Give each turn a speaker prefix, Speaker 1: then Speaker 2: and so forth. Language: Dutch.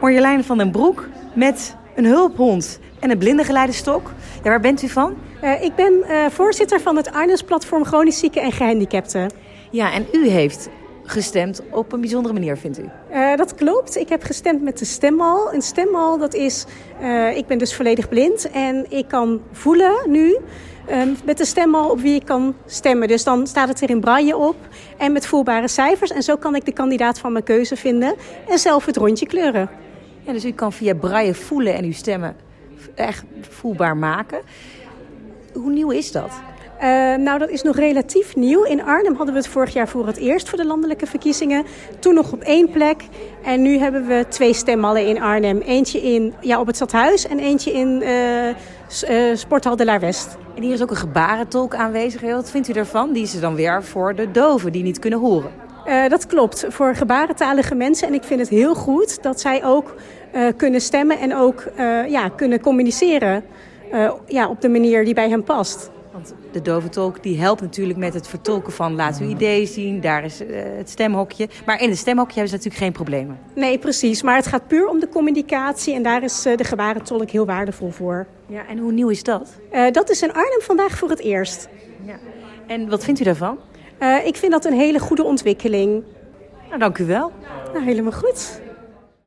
Speaker 1: Marjolein van den Broek met een hulphond en een blindengeleiderstok. Ja, waar bent u van?
Speaker 2: Eh, ik ben eh, voorzitter van het Arnhems Platform Chronisch Zieken en Gehandicapten.
Speaker 1: Ja, en u heeft gestemd op een bijzondere manier, vindt u?
Speaker 2: Eh, dat klopt. Ik heb gestemd met de stemmal. Een stemmal, dat is... eh, ik ben dus volledig blind en ik kan voelen nu... eh, met de stemmal op wie ik kan stemmen. Dus dan staat het er in braille op en met voelbare cijfers. En zo kan ik de kandidaat van mijn keuze vinden en zelf het rondje kleuren.
Speaker 1: Ja, dus u kan via braille voelen en uw stemmen echt voelbaar maken. Hoe nieuw is dat?
Speaker 2: Eh, nou, dat is nog relatief nieuw. In Arnhem hadden we het vorig jaar voor het eerst voor de landelijke verkiezingen. Toen nog op één plek. En nu hebben we twee stemmallen in Arnhem. Eentje in, ja, op het stadhuis en eentje in eh, s- eh, Sporthal de Laar West.
Speaker 1: En hier is ook een gebarentolk aanwezig. Ja, Wat vindt u daarvan? Die is er dan weer voor de doven die niet kunnen horen.
Speaker 2: Eh, dat klopt, voor gebarentalige mensen. En ik vind het heel goed dat zij ook eh, kunnen stemmen en ook eh, ja, kunnen communiceren eh, ja, op de manier die bij hen past.
Speaker 1: Want de doventolk die helpt natuurlijk met het vertolken van laat uw idee zien, daar is eh, het stemhokje. Maar in het stemhokje hebben ze natuurlijk geen problemen.
Speaker 2: Nee, precies. Maar het gaat puur om de communicatie. En daar is eh, de gebarentolk heel waardevol voor.
Speaker 1: Ja, en hoe nieuw is dat?
Speaker 2: Eh, dat is in Arnhem vandaag voor het eerst.
Speaker 1: Ja. En wat vindt u daarvan?
Speaker 2: Eh, ik vind dat een hele goede ontwikkeling.
Speaker 1: Nou, dank u wel.
Speaker 2: Nou, helemaal goed.